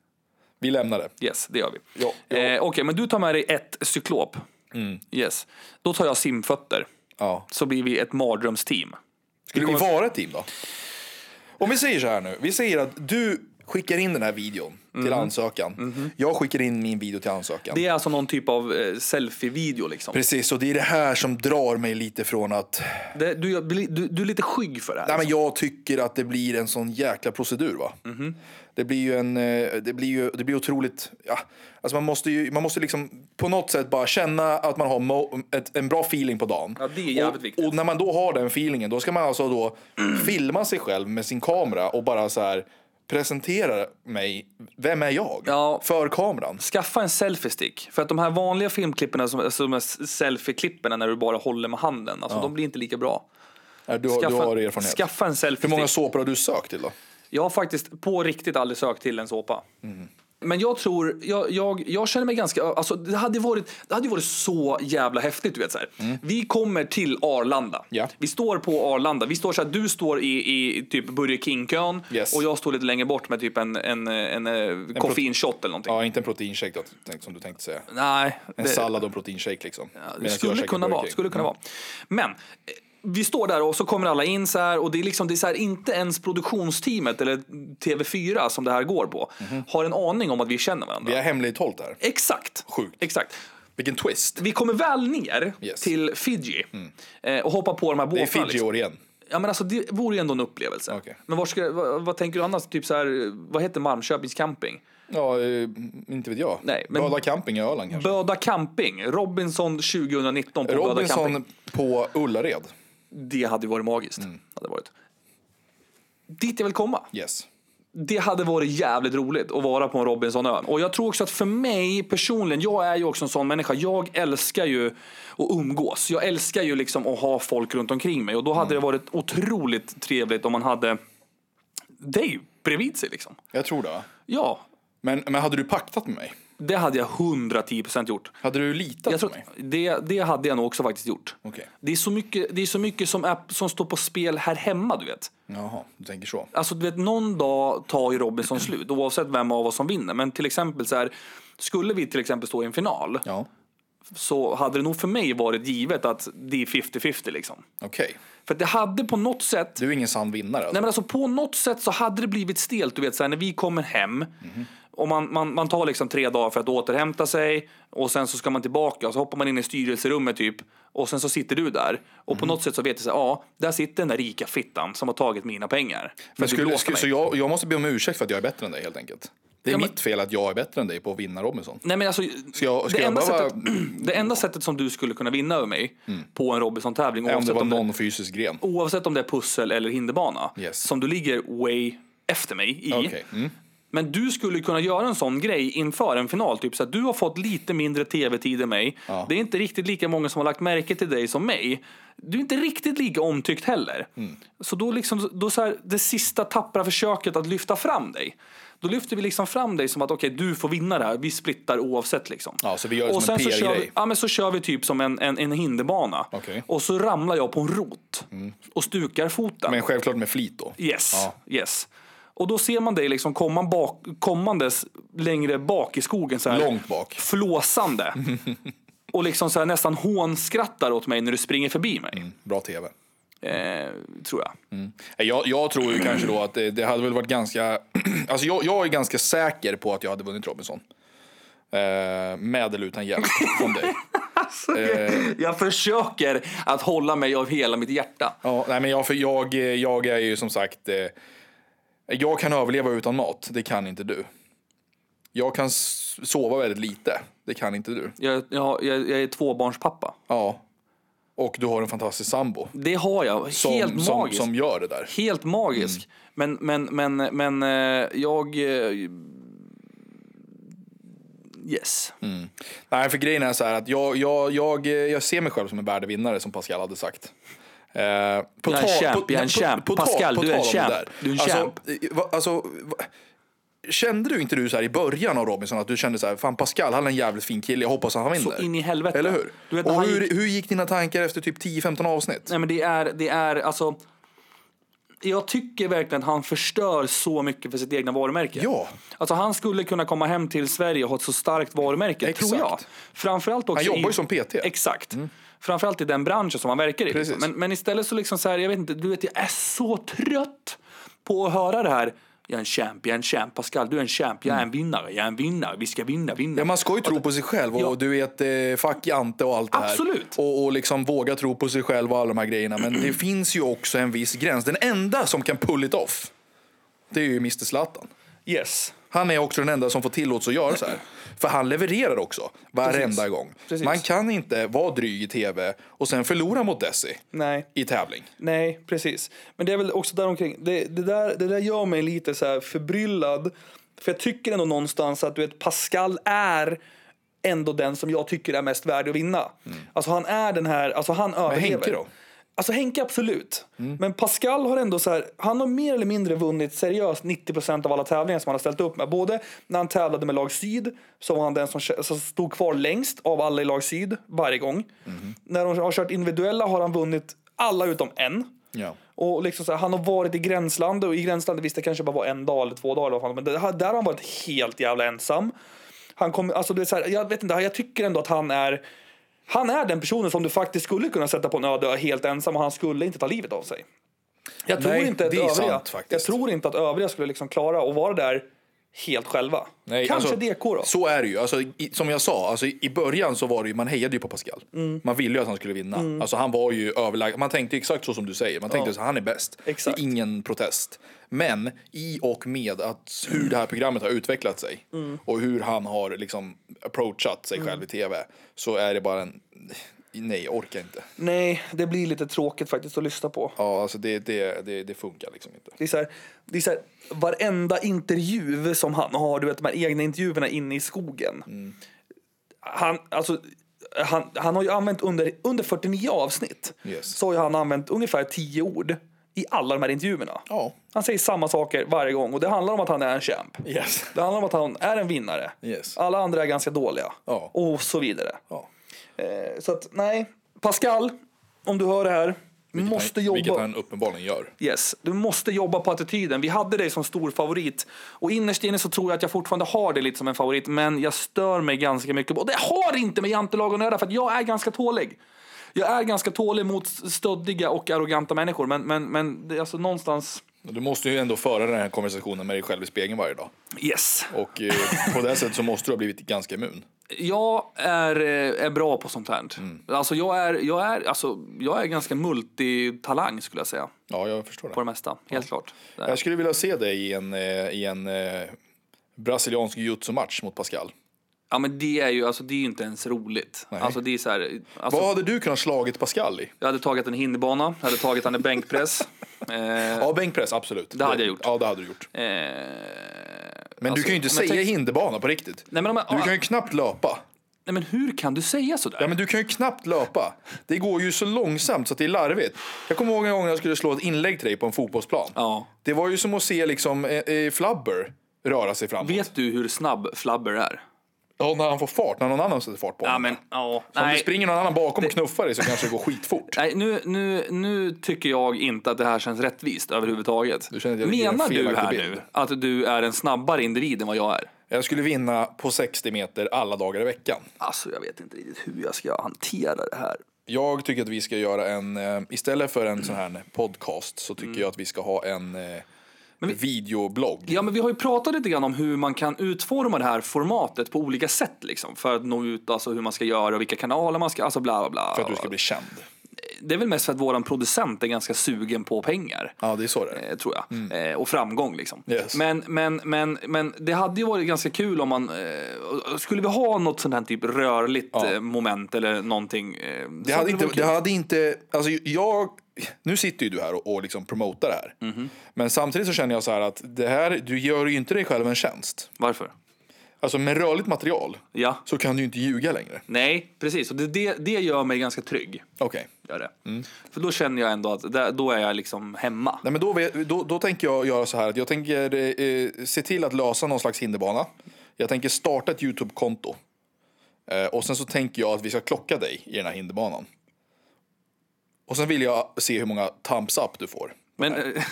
Vi lämnar det. Yes, det gör vi. Ja, Mm. ja. Eh, Okej, men du tar med dig ett cyklop. Yes. Då tar jag simfötter. Ja. så blir vi ett mardrömsteam. Skulle vi vara ett team då? Om vi säger så här nu. Vi säger att du skickar in den här videon till ansökan. Jag skickar in min video till ansökan. Mm. Mm-hmm. Det är alltså någon typ av eh, selfie-video liksom. Precis, och det är det här som drar mig lite från att... Det, du, jag blir- du, du är lite skygg för det här. Nej, men liksom. jag tycker att det blir en sån jäkla procedur. Va? Mhm. Det blir ju en... eh, Det blir ju det blir otroligt... Ja, alltså man måste ju man måste liksom på något sätt bara känna att man har mo, ett, en bra feeling på dagen. Ja, det är jävligt och, viktigt. Mm. Och när man då har den feelingen, då ska man alltså då filma sig själv med sin kamera och bara så här presentera mig. Vem är jag? Ja. För kameran. Skaffa en selfie-stick. För att de här vanliga filmklipperna, som, alltså de här selfie-klipperna när du bara håller med handen, alltså de blir inte lika bra. Nej, Du, har- du har erfarenhet. skaffa en Hur många selfie-stick. såpor har du sökt till då? Jag har faktiskt på riktigt aldrig sökt till en såpa. Mm. Men jag tror, jag, jag, jag känner mig ganska, alltså det hade varit, det hade varit så jävla häftigt du vet så här. Vi kommer till Arlanda. Mm. Ja. Vi står på Arlanda, vi står så här, du står i, i typ Burger King-kön Yes. och jag står lite längre bort med typ en, en, en, en koffeinshot eller någonting. Ja, inte en proteinshake då, tänk- som du tänkte säga. Nej, En sallad och en proteinshake liksom. det Medan jag skulle käkar kunna Burger vara. King. Mm. Skulle kunna vara. Men eh, vi står där och så kommer alla in så här och det är liksom det är så här, inte ens produktionsteamet eller TV4 som det här går på har en aning om att vi känner varandra. Mhm. Vi är hemlighållt här. Exakt. Sjukt. Exakt. Vilken twist. Vi kommer väl ner Yes. Mm. till Fiji eh, och hoppar på de här Det båtarna. är Fiji liksom. år igen. Ja, men alltså, det vore ju ändå en upplevelse. Okej. Men var ska, vad, vad tänker du annars? Typ så här, vad heter Malmköpings camping? Ja, eh, inte vet jag. Nej, men- men... Böda camping i Öland kanske. Böda camping. Robinson 2019 på Böda camping. Robinson på Ullared. Det hade varit magiskt. Hade varit. Dit jag vill komma. Yes. Det hade varit jävligt roligt att vara på en Robinsonö. Och jag tror också att för mig personligen, jag är ju också en sån människa. Jag älskar ju att umgås. Jag älskar ju liksom att ha folk runt omkring mig. Och då hade det varit otroligt trevligt om man hade dig bredvid sig liksom. Jag tror det. Ja, Men, men hade du paktat med mig? det hade jag 110% gjort. Hade du litat Jag på tror, mig? Mm. det, det hade jag nog också faktiskt gjort. Okej. Det är så mycket, det är så mycket som, är, som står på spel här hemma, du vet. Jaha, du tänker så. Alltså du vet, någon dag tar ju Robinson Mm. slut oavsett vem av oss som vinner. Men till exempel så här, skulle vi till exempel stå i en final Ja, så hade det nog för mig varit givet att det är 50-50 liksom. okej. För att det hade på något sätt Du är ingen sann vinnare. Alltså. Nej men alltså på något sätt så hade det blivit stelt. Du vet så här, när vi kommer hem Mm-hmm. och man, man, man tar liksom tre dagar för att återhämta sig och sen så ska man tillbaka och så hoppar man in i styrelserummet typ och sen så sitter du där och Mm-hmm. på något sätt så vet jag så här, ja, där sitter den där rika fittan som har tagit mina pengar. För men att du skulle, blåste skulle, mig. så jag, jag måste be om ursäkt för att jag är bättre än dig helt enkelt. Det är Ja, men- mitt fel att jag är bättre än dig på att vinna Robinson. Nej, men alltså, Ska jag- ska det, jag enda bara- Mm. sättet, det enda sättet som du skulle kunna vinna över mig på en Robinson-tävling Om det oavsett, var om det- någon fysisk gren. oavsett om det är pussel eller hinderbana Yes. som du ligger way efter mig i. Okej. Mm. Men du skulle kunna göra en sån grej inför en final. Typ så att du har fått lite mindre tv-tid än mig. Det är inte riktigt lika många som har lagt märke till dig som mig. Du är inte riktigt lika omtyckt heller. Mm. Så då liksom, då så här, det sista tappra försöket att lyfta fram dig. Då lyfter vi liksom fram dig som att okej, du får vinna det här. Vi splittar oavsett liksom. Ja, så vi gör det och som sen en så kör, vi, PR-grej. ja, men så kör vi typ som en, en, en hinderbana. Okej. Mm. Och så ramlar jag på en rot. Och stukar foten. Men självklart med flit då. Yes, yes. Och då ser man dig liksom komma bak, kommandes längre bak i skogen. Så här, Långt bak. Flåsande. och liksom så här, nästan hånskrattar åt mig när du springer förbi mig. Bra tv. Eh, tror jag. Nej, Jag, jag tror ju kanske då att det, det hade väl varit ganska... alltså jag, jag är ganska säker på att jag hade vunnit Robinson. Eh, med eller utan hjälp från dig. Eh. Jag försöker att hålla mig av hela mitt hjärta. Ja, nej, men jag, för jag, jag är ju som sagt... Eh, jag kan överleva utan mat, det kan inte du. Jag kan s- sova väldigt lite, det kan inte du. Jag, jag, jag, jag är tvåbarnspappa. Ja. Och du har en fantastisk sambo. Det har jag. Som, Helt magiskt. som, som Mm. gör det där. Helt magisk. Men, men, men, men eh, jag... eh, Yes. Nej, för grejen är så här att jag, jag, jag, jag ser mig själv som en värdevinnare som Pascal hade sagt. Eh, på är en tal- champ, på- jag är en på- champ. på tal- Pascal, på du är en tal om det champ. där. Du är en alltså, champ. eh, va- Alltså, va- kände du inte du så här i början av Robinson att du kände så här, fan Pascal han är en jävligt fin kille, jag hoppas att han vinner. in i helvete. Eller hur? Du vet, när och han hur, gick- hur gick dina tankar efter typ 10-15 avsnitt? Nej men det är, det är alltså. Jag tycker verkligen att han förstör så mycket för sitt egna varumärke. Ja. Alltså han skulle kunna komma hem till Sverige och ha ett så starkt varumärke, Exakt. tror jag. Framförallt också Han jobbar i- ju som PT. Exakt. Framförallt i den branschen som man verkar i. Liksom. Mm. Precis. Men, men istället så liksom så här, jag vet inte, du vet jag är så trött på att höra det här. Jag är en champ, jag är en champ, Pascal, du är en champ, jag är en vinnare, jag är en vinnare, vi ska vinna, vinna. Ja, man ska ju tro på sig själv och Ja. du vet, eh, fuck Jante och allt det här. Absolut. Och, och liksom våga tro på sig själv och alla de här grejerna. Men det finns ju också en viss gräns. Den enda som kan pull it off, det är ju Mr Zlatan. Yes. Han är också den enda som får tillåtelse att göra så här. För han levererar också, varenda gång. Precis. Man kan inte vara dryg i tv och sen förlora mot Desi Nej. i tävling. Nej, precis. Men det är väl också däromkring. Det, det, där, det där gör mig lite så här förbryllad. För jag tycker ändå någonstans att du vet, Pascal är ändå den som jag tycker är mest värd att vinna. Alltså han är den här, alltså han överlever. Mm. Henke då? Alltså Henke absolut. Men Pascal har ändå så här, han har mer eller mindre vunnit seriöst 90 av alla tävlingar som han har ställt upp med. Både när han tävlade med lag syd så var han den som, kö- som stod kvar längst av alla i lag syd varje gång. När de har kört individuella har han vunnit alla utom en. Ja. Och liksom så här, han har varit i gränslandet och i gränslandet visst det kanske bara var en dag eller två dagar eller vad fan, men det, här- där har han varit helt jävla ensam. Han kom, alltså det är så här, jag vet inte, jag tycker ändå att han är han är den personen som du faktiskt skulle kunna sätta på en öde ö helt ensam och han skulle inte ta livet av sig. Jag tror, Nej, inte, att det är övriga, sant jag faktiskt. tror inte att övriga skulle liksom klara att vara där helt själva. Nej, Kanske alltså, DK då. Så är det ju. Alltså, i, som jag sa, alltså, i i början så var det ju, man hejade ju på Pascal. Mm. Man ville ju att han skulle vinna. Alltså, han var ju överlag. Man tänkte exakt så som du säger. Man tänkte att han är bäst. Exakt. Det är Ingen protest. Men i och med att hur det här programmet har utvecklat sig Mm. och hur han har liksom approachat sig själv i tv så är det bara en... Nej, jag orkar inte. Nej, det blir lite tråkigt faktiskt att lyssna på. Ja, alltså det, det, det, det funkar liksom inte. Det är så här, det är så här, varenda intervju som han har, du vet de här egna intervjuerna inne i skogen. Mm. Han, alltså, han, han har ju använt under, under 49 avsnitt Yes. så har ju han använt ungefär 10 ord i alla de här intervjuerna. Ja. Han säger samma saker varje gång och det handlar om att han är en champ. Yes. Det handlar om att han är en vinnare. Yes. Alla andra är ganska dåliga. Ja. Och så vidare. Ja. Eh, Så att, nej. Pascal, om du hör det här. måste han, jobba. Vilket han uppenbarligen gör. Yes, du måste jobba på attityden. Vi hade dig som stor favorit och innerst inne så tror jag att jag fortfarande har dig lite som en favorit, men jag stör mig ganska mycket. på- Och det har inte med jantelagen att göra för att jag är ganska tålig. Jag är ganska tålig mot stöddiga och arroganta människor, men, men, men det är alltså någonstans... Du måste ju ändå föra den här konversationen med dig själv i spegeln varje dag. Yes. Och eh, på det sättet så måste du ha blivit ganska immun. Jag är, eh, är bra på sånt här. Mm. Alltså, jag, är, jag, är, alltså, jag är ganska multitalang skulle jag säga, Ja, jag förstår på det det. mest. Helt klart. Där. Jag skulle vilja se dig i en, eh, i en eh, brasiliansk jujutsu-match mot Pascal. Ja, men det är ju alltså, det är ju inte ens roligt. Alltså, det är så här, alltså, Vad hade du kunnat slagit Pascal i? Jag hade tagit en hinderbana, jag hade tagit han i bänkpress. eh, eh, Ja, bänkpress, absolut. Det hade jag gjort. Ja, det hade du gjort. Men alltså, du kan ju inte om jag säga tänker- hinderbana på riktigt. Nej men, om jag, Du kan ju knappt löpa. nej men hur kan du säga sådär? Ja, men du kan ju knappt löpa. Det går ju så långsamt så att det är larvigt. Jag kommer ihåg en gång när jag skulle slå ett inlägg till dig på en fotbollsplan. Ja. Det var ju som att se liksom eh, eh, Flubber röra sig framåt. Vet du hur snabb Flabber är? Ja, när han får fart, när någon annan sätter fart på Ja honom. men, ja. Om det Nej, springer någon annan bakom och knuffar dig så kanske det går skitfort. nej nu, nu, nu tycker jag inte att det här känns rättvist överhuvudtaget. Du känner att jag ger en Menar du felaktig här bild? nu att du är en snabbare individ än vad jag är? Jag skulle vinna på 60 meter alla dagar i veckan. Alltså jag vet inte riktigt hur jag ska hantera det här. Jag tycker att vi ska göra en, eh, istället för en sån här podcast så tycker jag att vi ska ha en eh, videoblogg. Mm. Ja, men vi har ju pratat lite grann om hur man kan utforma det här formatet på olika sätt liksom, för att nå ut, alltså hur man ska göra och vilka kanaler man ska, alltså bla bla bla. För att du ska bli känd. Det är väl mest för att våran producent är ganska sugen på pengar. Ja, det är så det är. eh, Tror jag. Eh, Och framgång liksom. Yes. Men, men, men, men det hade ju varit ganska kul om man... Eh, skulle vi ha något sånt här typ rörligt eh, moment eller någonting? eh, Det så hade, inte, varit det kul. hade inte, alltså jag, nu sitter ju du här och, och liksom promotar det här. Mhm. Men samtidigt så känner jag så här att det här, du gör ju inte dig själv en tjänst. Varför? Alltså med rörligt material Ja. så kan du ju inte ljuga längre. Nej, precis. Och det, det, det gör mig ganska trygg. Okej. Gör det. Mm. För då känner jag ändå att där, då är jag liksom hemma. Nej, men då, vet- då, då tänker jag göra så här att jag tänker eh, se till att lösa någon slags hinderbana. Jag tänker starta ett Youtube-konto. Eh, och sen så tänker jag att vi ska klocka dig i den här hinderbanan. Och sen vill jag se hur många thumbs up du får. Men, eh,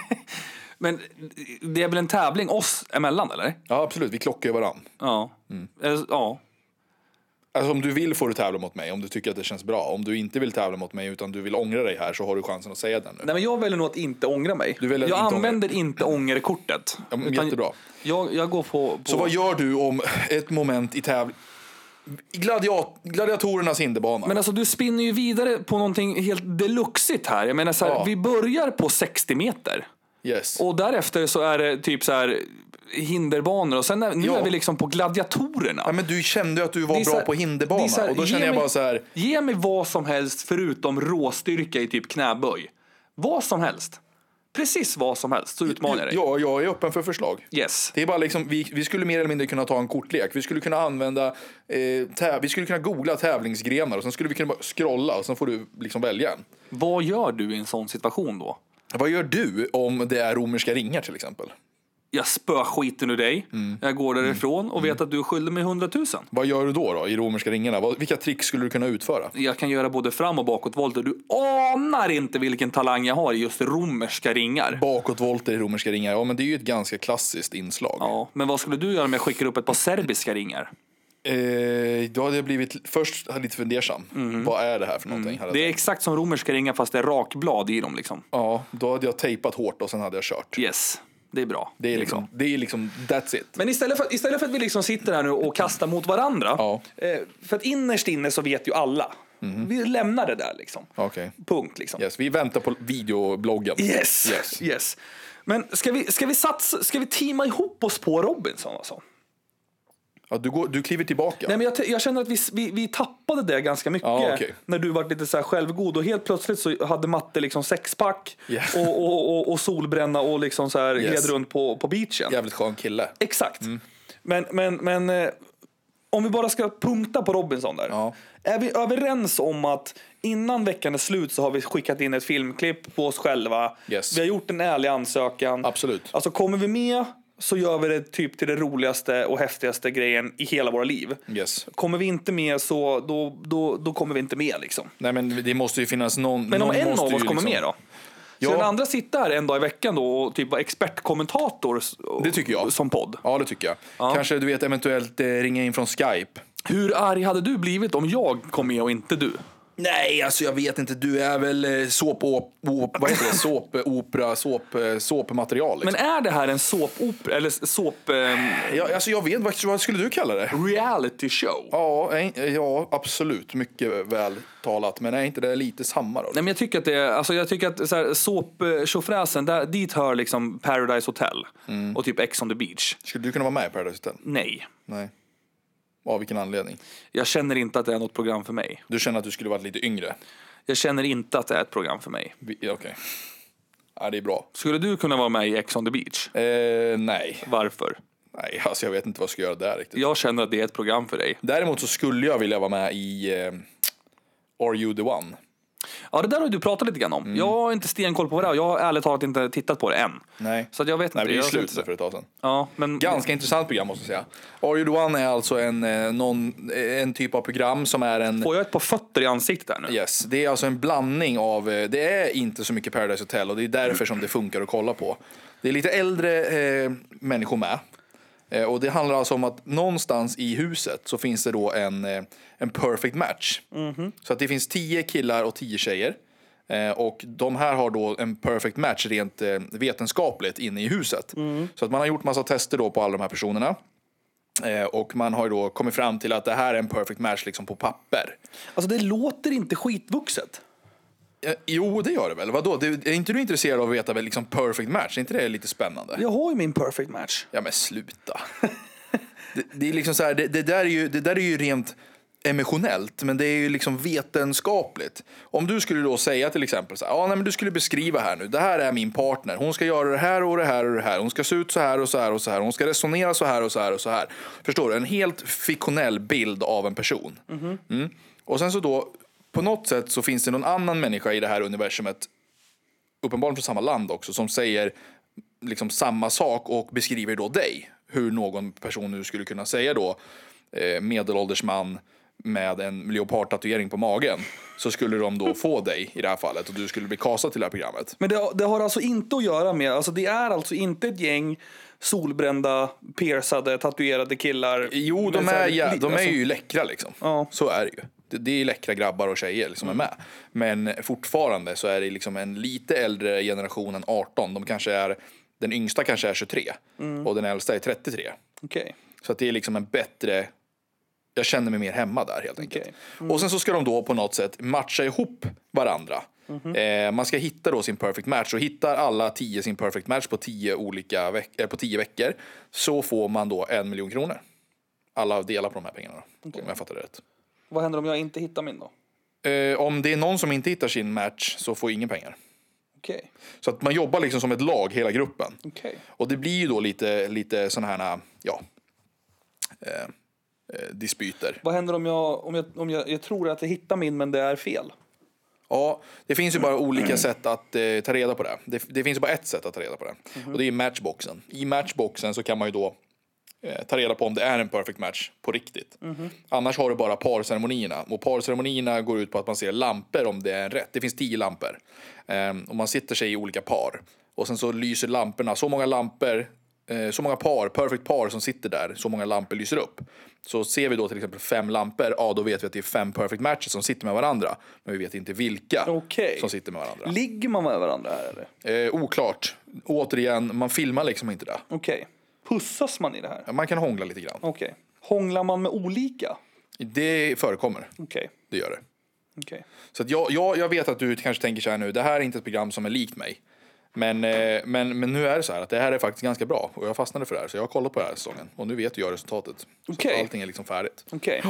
men det är väl en tävling oss emellan, eller? Mm. Eh, Ja absolut, vi klockar ju varann. Ja. Eller- ja. Alltså om du vill får du tävla mot mig, om du tycker att det känns bra. Om du inte vill tävla mot mig utan du vill ångra dig här så har du chansen att säga det nu. Nej, men jag väljer nog att inte ångra mig. Du väljer att jag inte ångra använder inte ångerkortet. Ja, men jättebra. Jag, jag går på... på Så vad gör du om ett moment i tävling... Gladiat- gladiatorernas hinderbana. men alltså du spinner ju vidare på någonting helt deluxigt här. Jag menar så här, Ja. vi börjar på 60 meter. yes. Och därefter så är det typ så här hinderbanor och sen är, nu Ja. är vi liksom på gladiatorerna. ja, men du kände ju att du Det var är bra så här- på det hinderbana är så här, och då ge känner jag mig- bara så här... Ge mig vad som helst förutom råstyrka i typ knäböj. Vad som helst. Precis vad som helst så utmanar jag dig. Ja, jag är öppen för förslag. Yes. Det är bara liksom, vi, vi skulle mer eller mindre kunna ta en kortlek. Vi skulle kunna använda, eh, täv- vi skulle kunna googla tävlingsgrenar och sen skulle vi kunna bara scrolla och sen får du liksom välja en. Vad gör du i en sån situation då? Vad gör du om det är romerska ringar till exempel? Jag spöar skiten ur dig. Mm. Jag går därifrån och vet att du är skyldig mig 100 000. Vad gör du då, då i romerska ringarna? Vad, vilka trick skulle du kunna utföra? Jag kan göra både fram och bakåtvolter. Du anar inte vilken talang jag har i just romerska ringar. Bakåtvolter i romerska ringar, ja men det är ju ett ganska klassiskt inslag. Ja, men vad skulle du göra om jag skickar upp ett par serbiska ringar? Eh, då hade jag blivit först hade jag lite fundersam. Vad är det här för någonting? Hade jag Mm. Det är tänkt. exakt som romerska ringar fast det är rakblad i dem liksom. Ja, då hade jag tejpat hårt och sen hade jag kört. Yes, det är bra. Det är bra. liksom, det är liksom that's it. Men istället för, istället för att vi liksom sitter här nu och kastar mot varandra. Ja. eh, För att innerst inne så vet ju alla. Vi lämnar det där liksom. Okej. Punkt liksom. Yes, vi väntar på videobloggen. Yes. Yes. yes. Men ska vi, ska, vi satsa, ska vi teama ihop oss på Robinson alltså? Ja, du, går, du kliver tillbaka. Nej, men jag, t- jag känner att vi, s- vi, vi tappade det ganska mycket Ja, okej. när du var lite så här självgod och helt plötsligt så hade Matte liksom sexpack Ja. och, och, och, och solbränna och liksom så här Yes. gled runt på, på beachen. Jävligt skön kille. Exakt. Mm. Men, men, men eh, om vi bara ska punkta på Robinson där. Ja. Är vi överens om att innan veckan är slut så har vi skickat in ett filmklipp på oss själva. Yes. Vi har gjort en ärlig ansökan. Absolut. Alltså kommer vi med så gör vi det typ till det roligaste och häftigaste grejen i hela våra liv. Yes. Kommer vi inte med så då, då, då kommer vi inte med liksom. Nej, men det måste ju finnas någon. Men om någon en av måste oss ju kommer liksom- med då? Ja. Så den andra sitter här en dag i veckan då och typ var expertkommentator s- Det tycker jag. som podd. Ja, det tycker jag. Kanske du vet eventuellt eh, ringa in från Skype. Hur arg hade du blivit om jag kom med och inte du? Nej, alltså jag vet inte. Du är väl eh, såp, op, op, vad heter det? såp, opera, såp, eh, såpmaterial. Liksom. Men är det här en såpopera eller såp ehm, Ja, alltså jag vet faktiskt, vad skulle du kalla det? reality show? Ja, nej, ja, absolut. Mycket väl talat. Men är inte det lite samma då? Nej, men jag tycker att det är, alltså jag tycker att så här, såp, eh, tjofräsen, där, dit hör liksom Paradise Hotel och typ Ex on the beach. Skulle du kunna vara med i Paradise Hotel? Nej, Nej. Av vilken anledning? jag känner inte att det är något program för mig. Du känner att du skulle varit lite yngre? Jag känner inte att det är ett program för mig. Vi- ja, Okej. Ja, det är bra. Skulle du kunna vara med i Ex on the beach? Eh, nej. Varför? nej, alltså jag vet inte vad jag ska göra där riktigt. Jag känner att det är ett program för dig. Däremot så skulle jag vilja vara med i eh, Are You The One? Ja, det där har ju du pratat lite grann om. Mm. Jag har inte stenkoll på det här. Jag har ärligt talat inte tittat på det än. Nej. Så att jag vet Nej, inte. det är ju Jag ser slut inte- för ett tag sedan. Ja, men Ganska intressant program måste jag säga. Are You The One är alltså en, eh, någon, eh, en typ av program som är en... Får jag ett par fötter i ansiktet där nu? Yes, det är alltså en blandning av, eh, det är inte så mycket Paradise Hotel och det är därför som det funkar att kolla på. Det är lite äldre eh, människor med. Eh, och det handlar alltså om att någonstans i huset så finns det då en, eh, en perfect match. Så att det finns tio killar och tio tjejer. Eh, och de här har då en perfect match rent eh, vetenskapligt inne i huset. Så att man har gjort massa tester då på alla de här personerna. Eh, och man har ju då kommit fram till att det här är en perfect match liksom på papper. Alltså det låter inte skitvuxet. Eh, Jo, det gör det väl. Vadå? Du, är inte du intresserad av att veta väl, liksom perfect match? Är inte det lite spännande? Jag har ju min perfect match. Ja, men sluta. det, det är liksom så här, det, det, där är ju, det där är ju rent emotionellt, men det är ju liksom vetenskapligt. Om du skulle då säga till exempel så här, ja, nej, men du skulle beskriva här nu, det här är min partner, hon ska göra det här och det här och det här, hon ska se ut så här och så här och så här, hon ska resonera så här och så här och så här. Förstår du? En helt fiktionell bild av en person. Mm. Och sen så då, på något sätt så finns det någon annan människa i det här universumet uppenbarligen från samma land också, som säger liksom samma sak och beskriver då dig. Hur någon person nu skulle kunna säga då eh, medelålders man med en leopardtatuering på magen så skulle de då få dig i det här fallet och du skulle bli kasad till det här programmet. Men det, det har alltså inte att göra med, alltså det är alltså inte ett gäng solbrända, persade, tatuerade killar. Jo, de Men så är, här, ja, li- de är alltså, ju läckra liksom. Ja. Mm. Så är det ju. Det, det är läckra grabbar och tjejer som är med. Men fortfarande så är det liksom en lite äldre generation än 18. De kanske är, den yngsta kanske är 23 Mm. och den äldsta är 33. okej. Så att det är liksom en bättre... Jag känner mig mer hemma där helt enkelt. Okej. Mm. Och sen så ska de då på något sätt matcha ihop varandra. Mhm. eh, man ska hitta då sin perfect match och hittar alla tio sin perfect match på tio, olika veck- eh, på tio veckor så får man då en miljon kronor. Alla delar på de här pengarna då, om jag fattar det rätt. Vad händer om jag inte hittar min då? Eh, om det är någon som inte hittar sin match så får ingen pengar. Okej. Så att man jobbar liksom som ett lag, hela gruppen. Okej. Och det blir ju då lite, lite sådana här, ja, eh, eh, dispyter. Vad händer om jag, om jag, om jag, jag tror att jag hittar min men det är fel? Ja, det finns ju bara olika sätt att eh, ta reda på det. det. Det finns ju bara ett sätt att ta reda på det. Och det är matchboxen. I matchboxen så kan man ju då eh, ta reda på om det är en perfect match på riktigt. Annars har du bara parceremonierna. Och parceremonierna går ut på att man ser lampor om det är en rätt. Det finns tio lampor. Ehm, och man sitter sig i olika par. Och sen så lyser lamporna, så många lampor, eh, så många par, perfect par som sitter där, så många lampor lyser upp. Så ser vi då till exempel fem lampor, ja då vet vi att det är fem perfect matches som sitter med varandra. Men vi vet inte vilka Okej. som sitter med varandra. Ligger man med varandra här eller? Eh, oklart. Återigen, man filmar liksom inte det. Okej. Pussas man i det här? Man kan hångla lite grann. Okej. Hånglar man med olika? Det förekommer, Okej. det gör det. Okej. Så att jag, jag, jag vet att du kanske tänker så här nu, det här är inte ett program som är likt mig. Men, eh, men, men nu är det så här att det här är faktiskt ganska bra och jag fastnade för det här så jag har kollat på den här säsongen och nu vet jag resultatet. Så att Okej. Allting är liksom färdigt. Okej.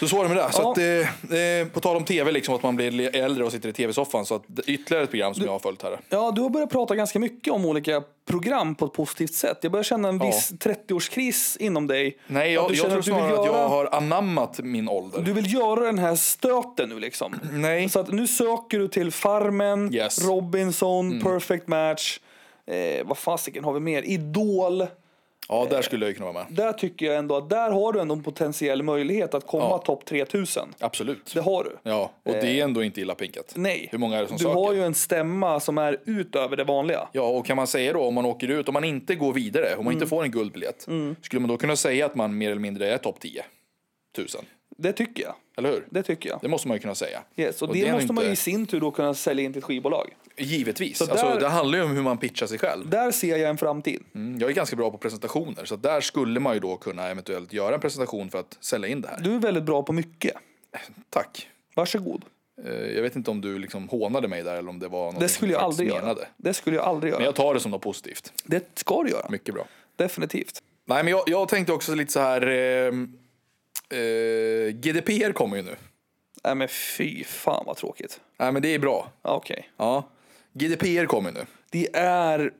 Så så är det med det. Ja. Så att, eh, eh, på tal om tv, liksom, att man blir äldre och sitter i tv-soffan så att det- ytterligare ett program som jag har följt här. Ja, du har börjat prata ganska mycket om olika program på ett positivt sätt. Jag börjar känna en viss 30-årskris inom dig. Nej, Att jag, du jag känner tror att du vill snarare att göra- jag har anammat min ålder. Du vill göra den här stöten nu liksom. Nej. Så att nu söker du till Farmen, Yes. Mm. Robinson, Perfect Match. Eh, vad fasiken har vi mer? Idol. Ja, där skulle jag ju kunna vara med. Där tycker jag ändå att där har du ändå en potentiell möjlighet att komma topp 3000. Absolut. Det har du. Ja, och Eh. det är ändå inte illa pinkat. Nej. Hur många är det som du söker? har ju en stämma som är utöver det vanliga. Ja, och kan man säga då om man åker ut, om man inte går vidare, om man Mm. inte får en guldbiljett, skulle man då kunna säga att man mer eller mindre är topp 10 tusen? Det tycker jag. Eller hur? Det tycker jag. Det måste man ju kunna säga. Yes, Och och, Eh, det, det är nog måste man ju i inte- sin tur då kunna sälja in till ett skivbolag. Givetvis. där- Alltså, det handlar ju om hur man pitchar sig själv. Där ser jag en framtid. Mm, Jag är ganska bra på presentationer, så att där skulle man ju då kunna eventuellt göra en presentation för att sälja in det här. Du är väldigt bra på mycket. Tack. Varsågod. Eh, Jag vet inte om du liksom hånade mig där eller om det var något Det skulle jag aldrig göra. Det skulle jag aldrig göra. Men jag tar det som något positivt. Det ska du göra. Mycket bra. Definitivt. Nej, men jag, jag tänkte också lite så här... ehm, eh, GDPR kommer ju nu. Nej men fy fan vad tråkigt. Nej, men det är bra. Ja, Okej. Ja. GDPR kommer nu. Det är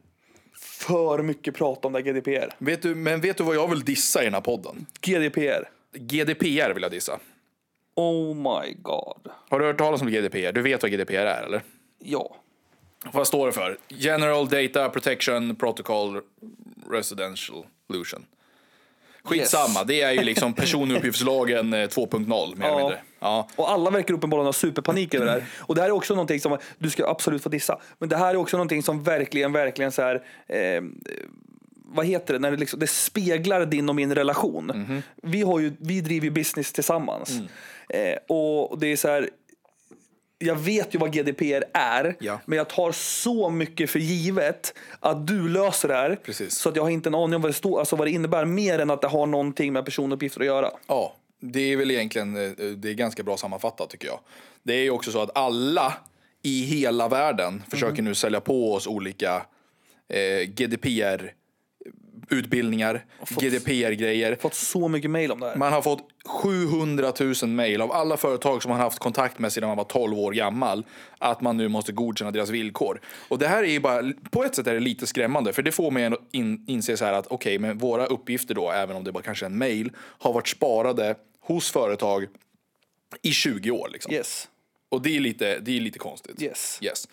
för mycket prat om det här GDPR. Vet du, men vet du vad jag vill dissa i den här podden? GDPR. GDPR vill jag dissa. Oh my god. Har du hört talas om GDPR? Du vet vad GDPR är, eller? Ja. Vad står det för? General Data Protection Protocol Residential Solution. Skitsamma, Yes. det är ju liksom personuppgiftslagen eh, 2.0 mer eller Ja. mindre. Ja. Och alla verkar uppenbarligen ha superpanik över det här. Och det här är också någonting som, du ska absolut få dissa, men det här är också någonting som verkligen, verkligen så här, eh, vad heter det, när det, liksom, det speglar din och min relation. Mhm. Vi, har ju, vi driver ju business tillsammans. Mm. Eh, och det är så här, jag vet ju vad GDPR är, Ja. men jag tar så mycket för givet att du löser det här. Precis. Så att jag har inte en aning om vad det, står, alltså vad det innebär, mer än att det har någonting med personuppgifter att göra. Ja, det är väl egentligen eh, det är ganska bra sammanfattat tycker jag. Det är ju också så att alla i hela världen försöker nu sälja på oss olika eh, GDPR utbildningar, GDPR-grejer. Jag har fått så mycket mail om det här. Man har fått 700 000 mejl av alla företag som man har haft kontakt med sedan man var 12 år gammal. Att man nu måste godkänna deras villkor. Och det här är ju bara, på ett sätt är det lite skrämmande. För det får mig att in, inse så här att okej, men våra uppgifter då, även om det bara kanske är en mejl, har varit sparade hos företag i 20 år. Liksom. Yes. Och det är lite, det är lite konstigt. Yes. yes.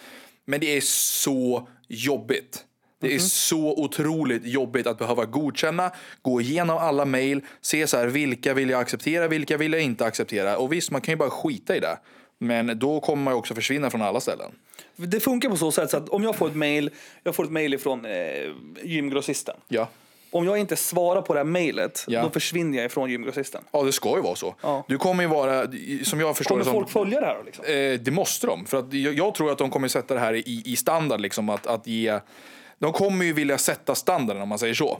Men det är så jobbigt. Det Mhm. är så otroligt jobbigt att behöva godkänna, gå igenom alla mejl, se så här, vilka vill jag acceptera, vilka vill jag inte acceptera. Och visst, man kan ju bara skita i det. Men då kommer man ju också försvinna från alla ställen. Det funkar på så sätt så att om jag får ett mejl, jag får ett mejl ifrån eh, gymgrossisten. Ja. Om jag inte svarar på det här mejlet, Ja. då försvinner jag ifrån gymgrossisten. Ja, det ska ju vara så. Ja. Du kommer ju vara, som jag förstår Kommer det som... folk följa det här då? Liksom? Eh, det måste de. För att jag, jag tror att de kommer sätta det här i, i standard. Liksom, att, att ge, de kommer ju vilja sätta standarden om man säger så.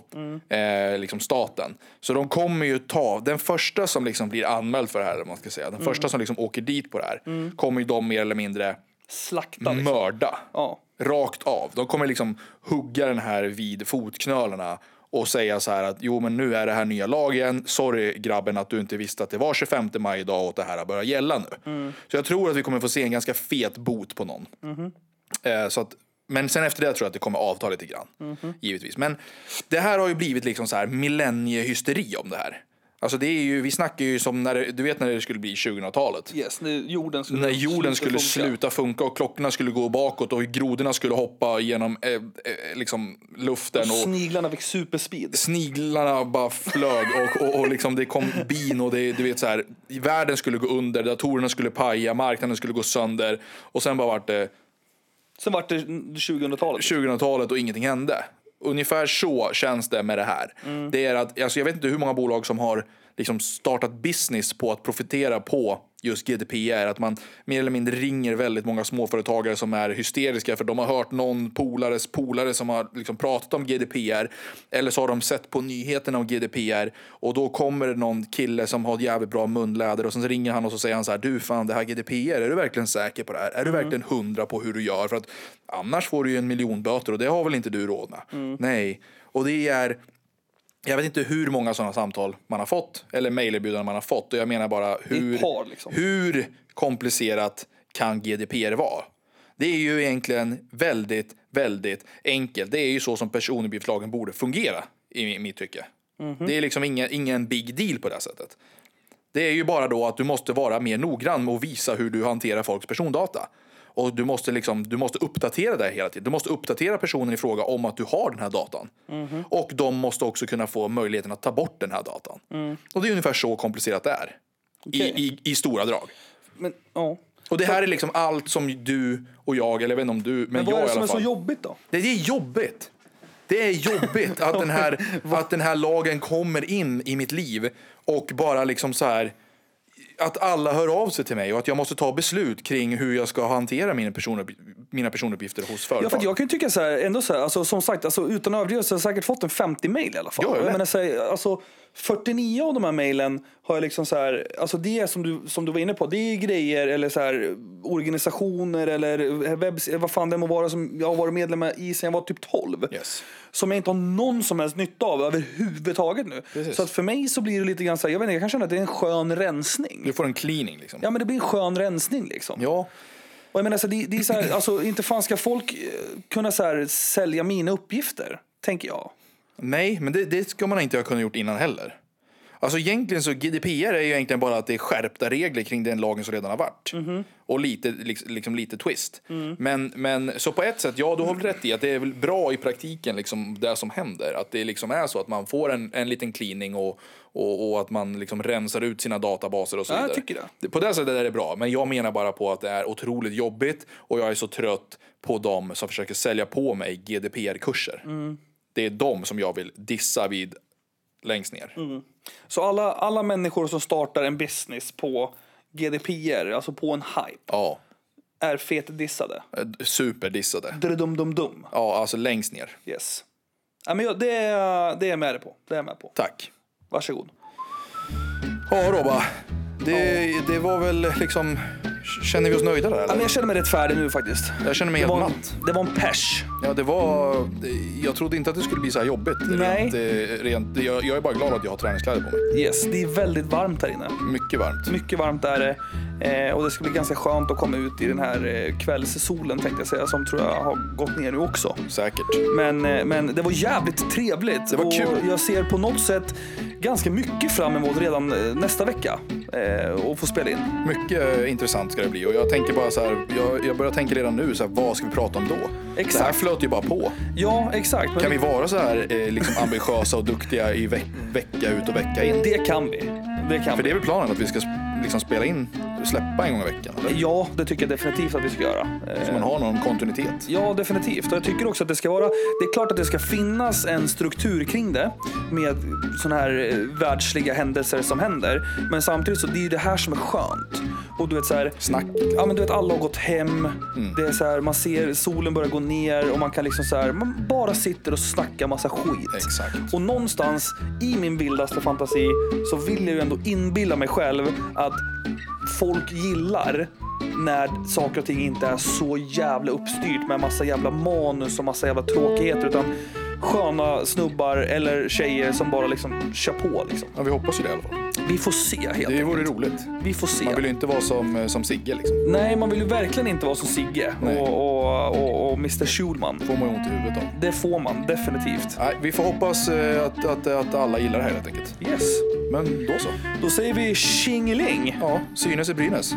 Eh, liksom staten. Så de kommer ju ta, den första som liksom blir anmäld för det här, eller vad man ska säga, den Mm. första som liksom åker dit på det här, kommer ju de mer eller mindre Slakta Mm. Mm. liksom. mörda. Ja. Rakt av. De kommer liksom hugga den här vid fotknölarna och säga så här att jo men nu är det här nya lagen. Sorry grabben att du inte visste att det var 25 maj idag och att det här börjar gälla nu. Så jag tror att vi kommer få se en ganska fet bot på någon. Eh, så att, men sen efter det tror jag att det kommer avta lite grann. Givetvis. Men det här har ju blivit liksom så här millenniehysteri om det här. Alltså det är ju, vi snackar ju som när det, du vet när det skulle bli 2000-talet. Yes, nu, jorden skulle När jorden skulle funka. sluta funka och klockorna skulle gå bakåt och grodorna skulle hoppa genom eh, eh, liksom luften och Sniglarna fick superspeed. sniglarna bara flög och, och, och liksom det kom bin och det, du vet så här, världen skulle gå under, datorerna skulle paja, marknaden skulle gå sönder och sen bara vart det Sen vart det 2000-talet. 2000-talet och ingenting hände. Ungefär så känns det med det här. Det är att, alltså jag vet inte hur många bolag som har liksom startat business på att profitera på just GDPR. Att man mer eller mindre ringer väldigt många småföretagare som är hysteriska för de har hört någon polares polare som har liksom pratat om GDPR. Eller så har de sett på nyheterna om GDPR och då kommer det någon kille som har jävligt bra munläder och sen så ringer han och så säger han så här du fan det här GDPR, är du verkligen säker på det här? Är du verkligen hundra på hur du gör? För att annars får du ju en miljon böter och det har väl inte du råd med? Nej, och det är jag vet inte hur många sådana samtal man har fått eller mejlerbjudanden man har fått och jag menar bara är ett hur, par, liksom. hur komplicerat kan GDPR vara? Det är ju egentligen väldigt, väldigt enkelt. Det är ju så som personuppgiftslagen borde fungera i mi- mitt tycke. Mhm. Det är liksom ingen, ingen big deal på det här sättet. Det är ju bara då att du måste vara mer noggrann med att visa hur du hanterar folks persondata. Och du måste, liksom, du måste uppdatera det här hela tiden. Du måste uppdatera personen i fråga om att du har den här datan. Mhm. Och de måste också kunna få möjligheten att ta bort den här datan. Mm. Och det är ungefär så komplicerat det är. I, i, I stora drag. Men, ja. Och det här är liksom allt som du och jag, eller jag vet inte om du, men, Men vad jag är det i som är alla så fall. jobbigt då? Det är jobbigt. Det är jobbigt att den, här, att den här lagen kommer in i mitt liv och bara liksom så här att alla hör av sig till mig och att jag måste ta beslut kring hur jag ska hantera mina, personupp, mina personuppgifter hos Ja, företag. för att jag kan ju tycka så här, ändå så här, alltså, som sagt, alltså, utan överdrift så har jag säkert fått en 50 mejl i alla fall. Ja, jag jag vet. menar, så här, alltså, 49 av de här mejlen har jag liksom så här, alltså det är som du, som du var inne på, det är grejer eller så här, organisationer eller webbs, vad fan det må vara som jag har varit medlem i sedan jag var typ 12. Yes. Som jag inte har någon som helst nytta av överhuvudtaget nu. Precis. Så att för mig så blir det lite grann så här, jag vet inte, jag kan känna att det är en skön rensning. Du får en cleaning liksom. Ja men det blir en skön rensning liksom. Ja. Och jag menar, så det, det är så här, alltså, inte fan ska folk eh, kunna så här, sälja mina uppgifter, tänker jag. Nej, men det, det ska man inte ha kunnat gjort innan heller. Alltså egentligen så GDPR är ju egentligen bara att det är skärpta regler kring den lagen som redan har varit. Mhm. Och lite, liksom, liksom lite twist. Mm. Men, men så på ett sätt, ja du har väl rätt i att det är väl bra i praktiken liksom det som händer. Att det liksom är så att man får en, en liten cleaning och, och, och att man liksom rensar ut sina databaser och så Ja, jag vidare. tycker det. På det sättet är det bra, men jag menar bara på att det är otroligt jobbigt och jag är så trött på dem som försöker sälja på mig GDPR-kurser. Mm. Det är de som jag vill dissa vid längst ner. Mm. Så alla, alla människor som startar en business på GDPR, alltså på en hype, Ja, är fetdissade. eh, superdissade. Dum-dum-dum. Ja, alltså längst ner. Yes. Ja, men jag, det, är- det är jag med dig på. Det är jag med på. Tack. Varsågod. Ja, Robba. Det, det var väl liksom... Känner vi oss nöjda där Ja, men eller? jag känner mig rättfärdig nu faktiskt. Jag känner mig Det helt var, en, matt. det var en pers. Ja, det var... det- Jag trodde inte att det skulle bli så här jobbigt. Nej. Rent, eh, rent, jag, jag är bara glad att jag har träningskläder på mig. Yes, det är väldigt varmt här inne. Mycket varmt. Mycket varmt är det eh, och det ska bli ganska skönt att komma ut i den här eh, kvällssolen tänkte jag säga som tror jag har gått ner nu också. Säkert. Men, eh, men det var jävligt trevligt. var och kul. Jag ser på något sätt ganska mycket fram emot redan eh, nästa vecka eh, och få spela in. Mycket eh, intressant ska det bli. Och jag tänker bara så här, jag, jag börjar tänka redan nu, så här, vad ska vi prata om då? Det här Exakt. flöt ju bara på. Ja, exakt. Men Kan vi vara så här eh, liksom ambitiösa och duktiga i veck- vecka ut och vecka in? Det kan vi. Det kan För det vi. är väl planen att vi ska sp- liksom spela in, släppa en gång i veckan? Eller? Ja, det tycker jag definitivt att vi ska göra. Eh, Så man har någon kontinuitet. Ja, definitivt. Och jag tycker också att det ska vara... Det är klart att det ska finnas en struktur kring det med sådana här eh, världsliga händelser som händer. Men samtidigt så det är ju det här som är skönt. Och du vet så här... Snacket. Ja, men du vet alla har gått hem. Det är så här, man ser solen börjar gå ner och man kan liksom så här, man bara sitter och snackar massa skit. Exakt. Och någonstans i min vildaste fantasi så vill jag ju ändå inbilla mig själv att folk gillar när saker och ting inte är så jävla uppstyrt med massa jävla manus och massa jävla tråkigheter utan sköna snubbar eller tjejer som bara liksom kör på liksom. Ja, vi hoppas ju det i alla fall. Vi får se helt Det enkelt. vore roligt. Vi får se. Man vill ju inte vara som, eh, som Sigge liksom. Nej, man vill ju verkligen inte vara som Sigge Nej. och, och, och, och Mr Schulman. Får man ju ont i huvudet av. Det får man definitivt. Nej, vi får hoppas eh, att, att, att alla gillar det här helt enkelt. Yes. Men då så. Då säger vi tjingeling. Ja, Synäs i Brynäs.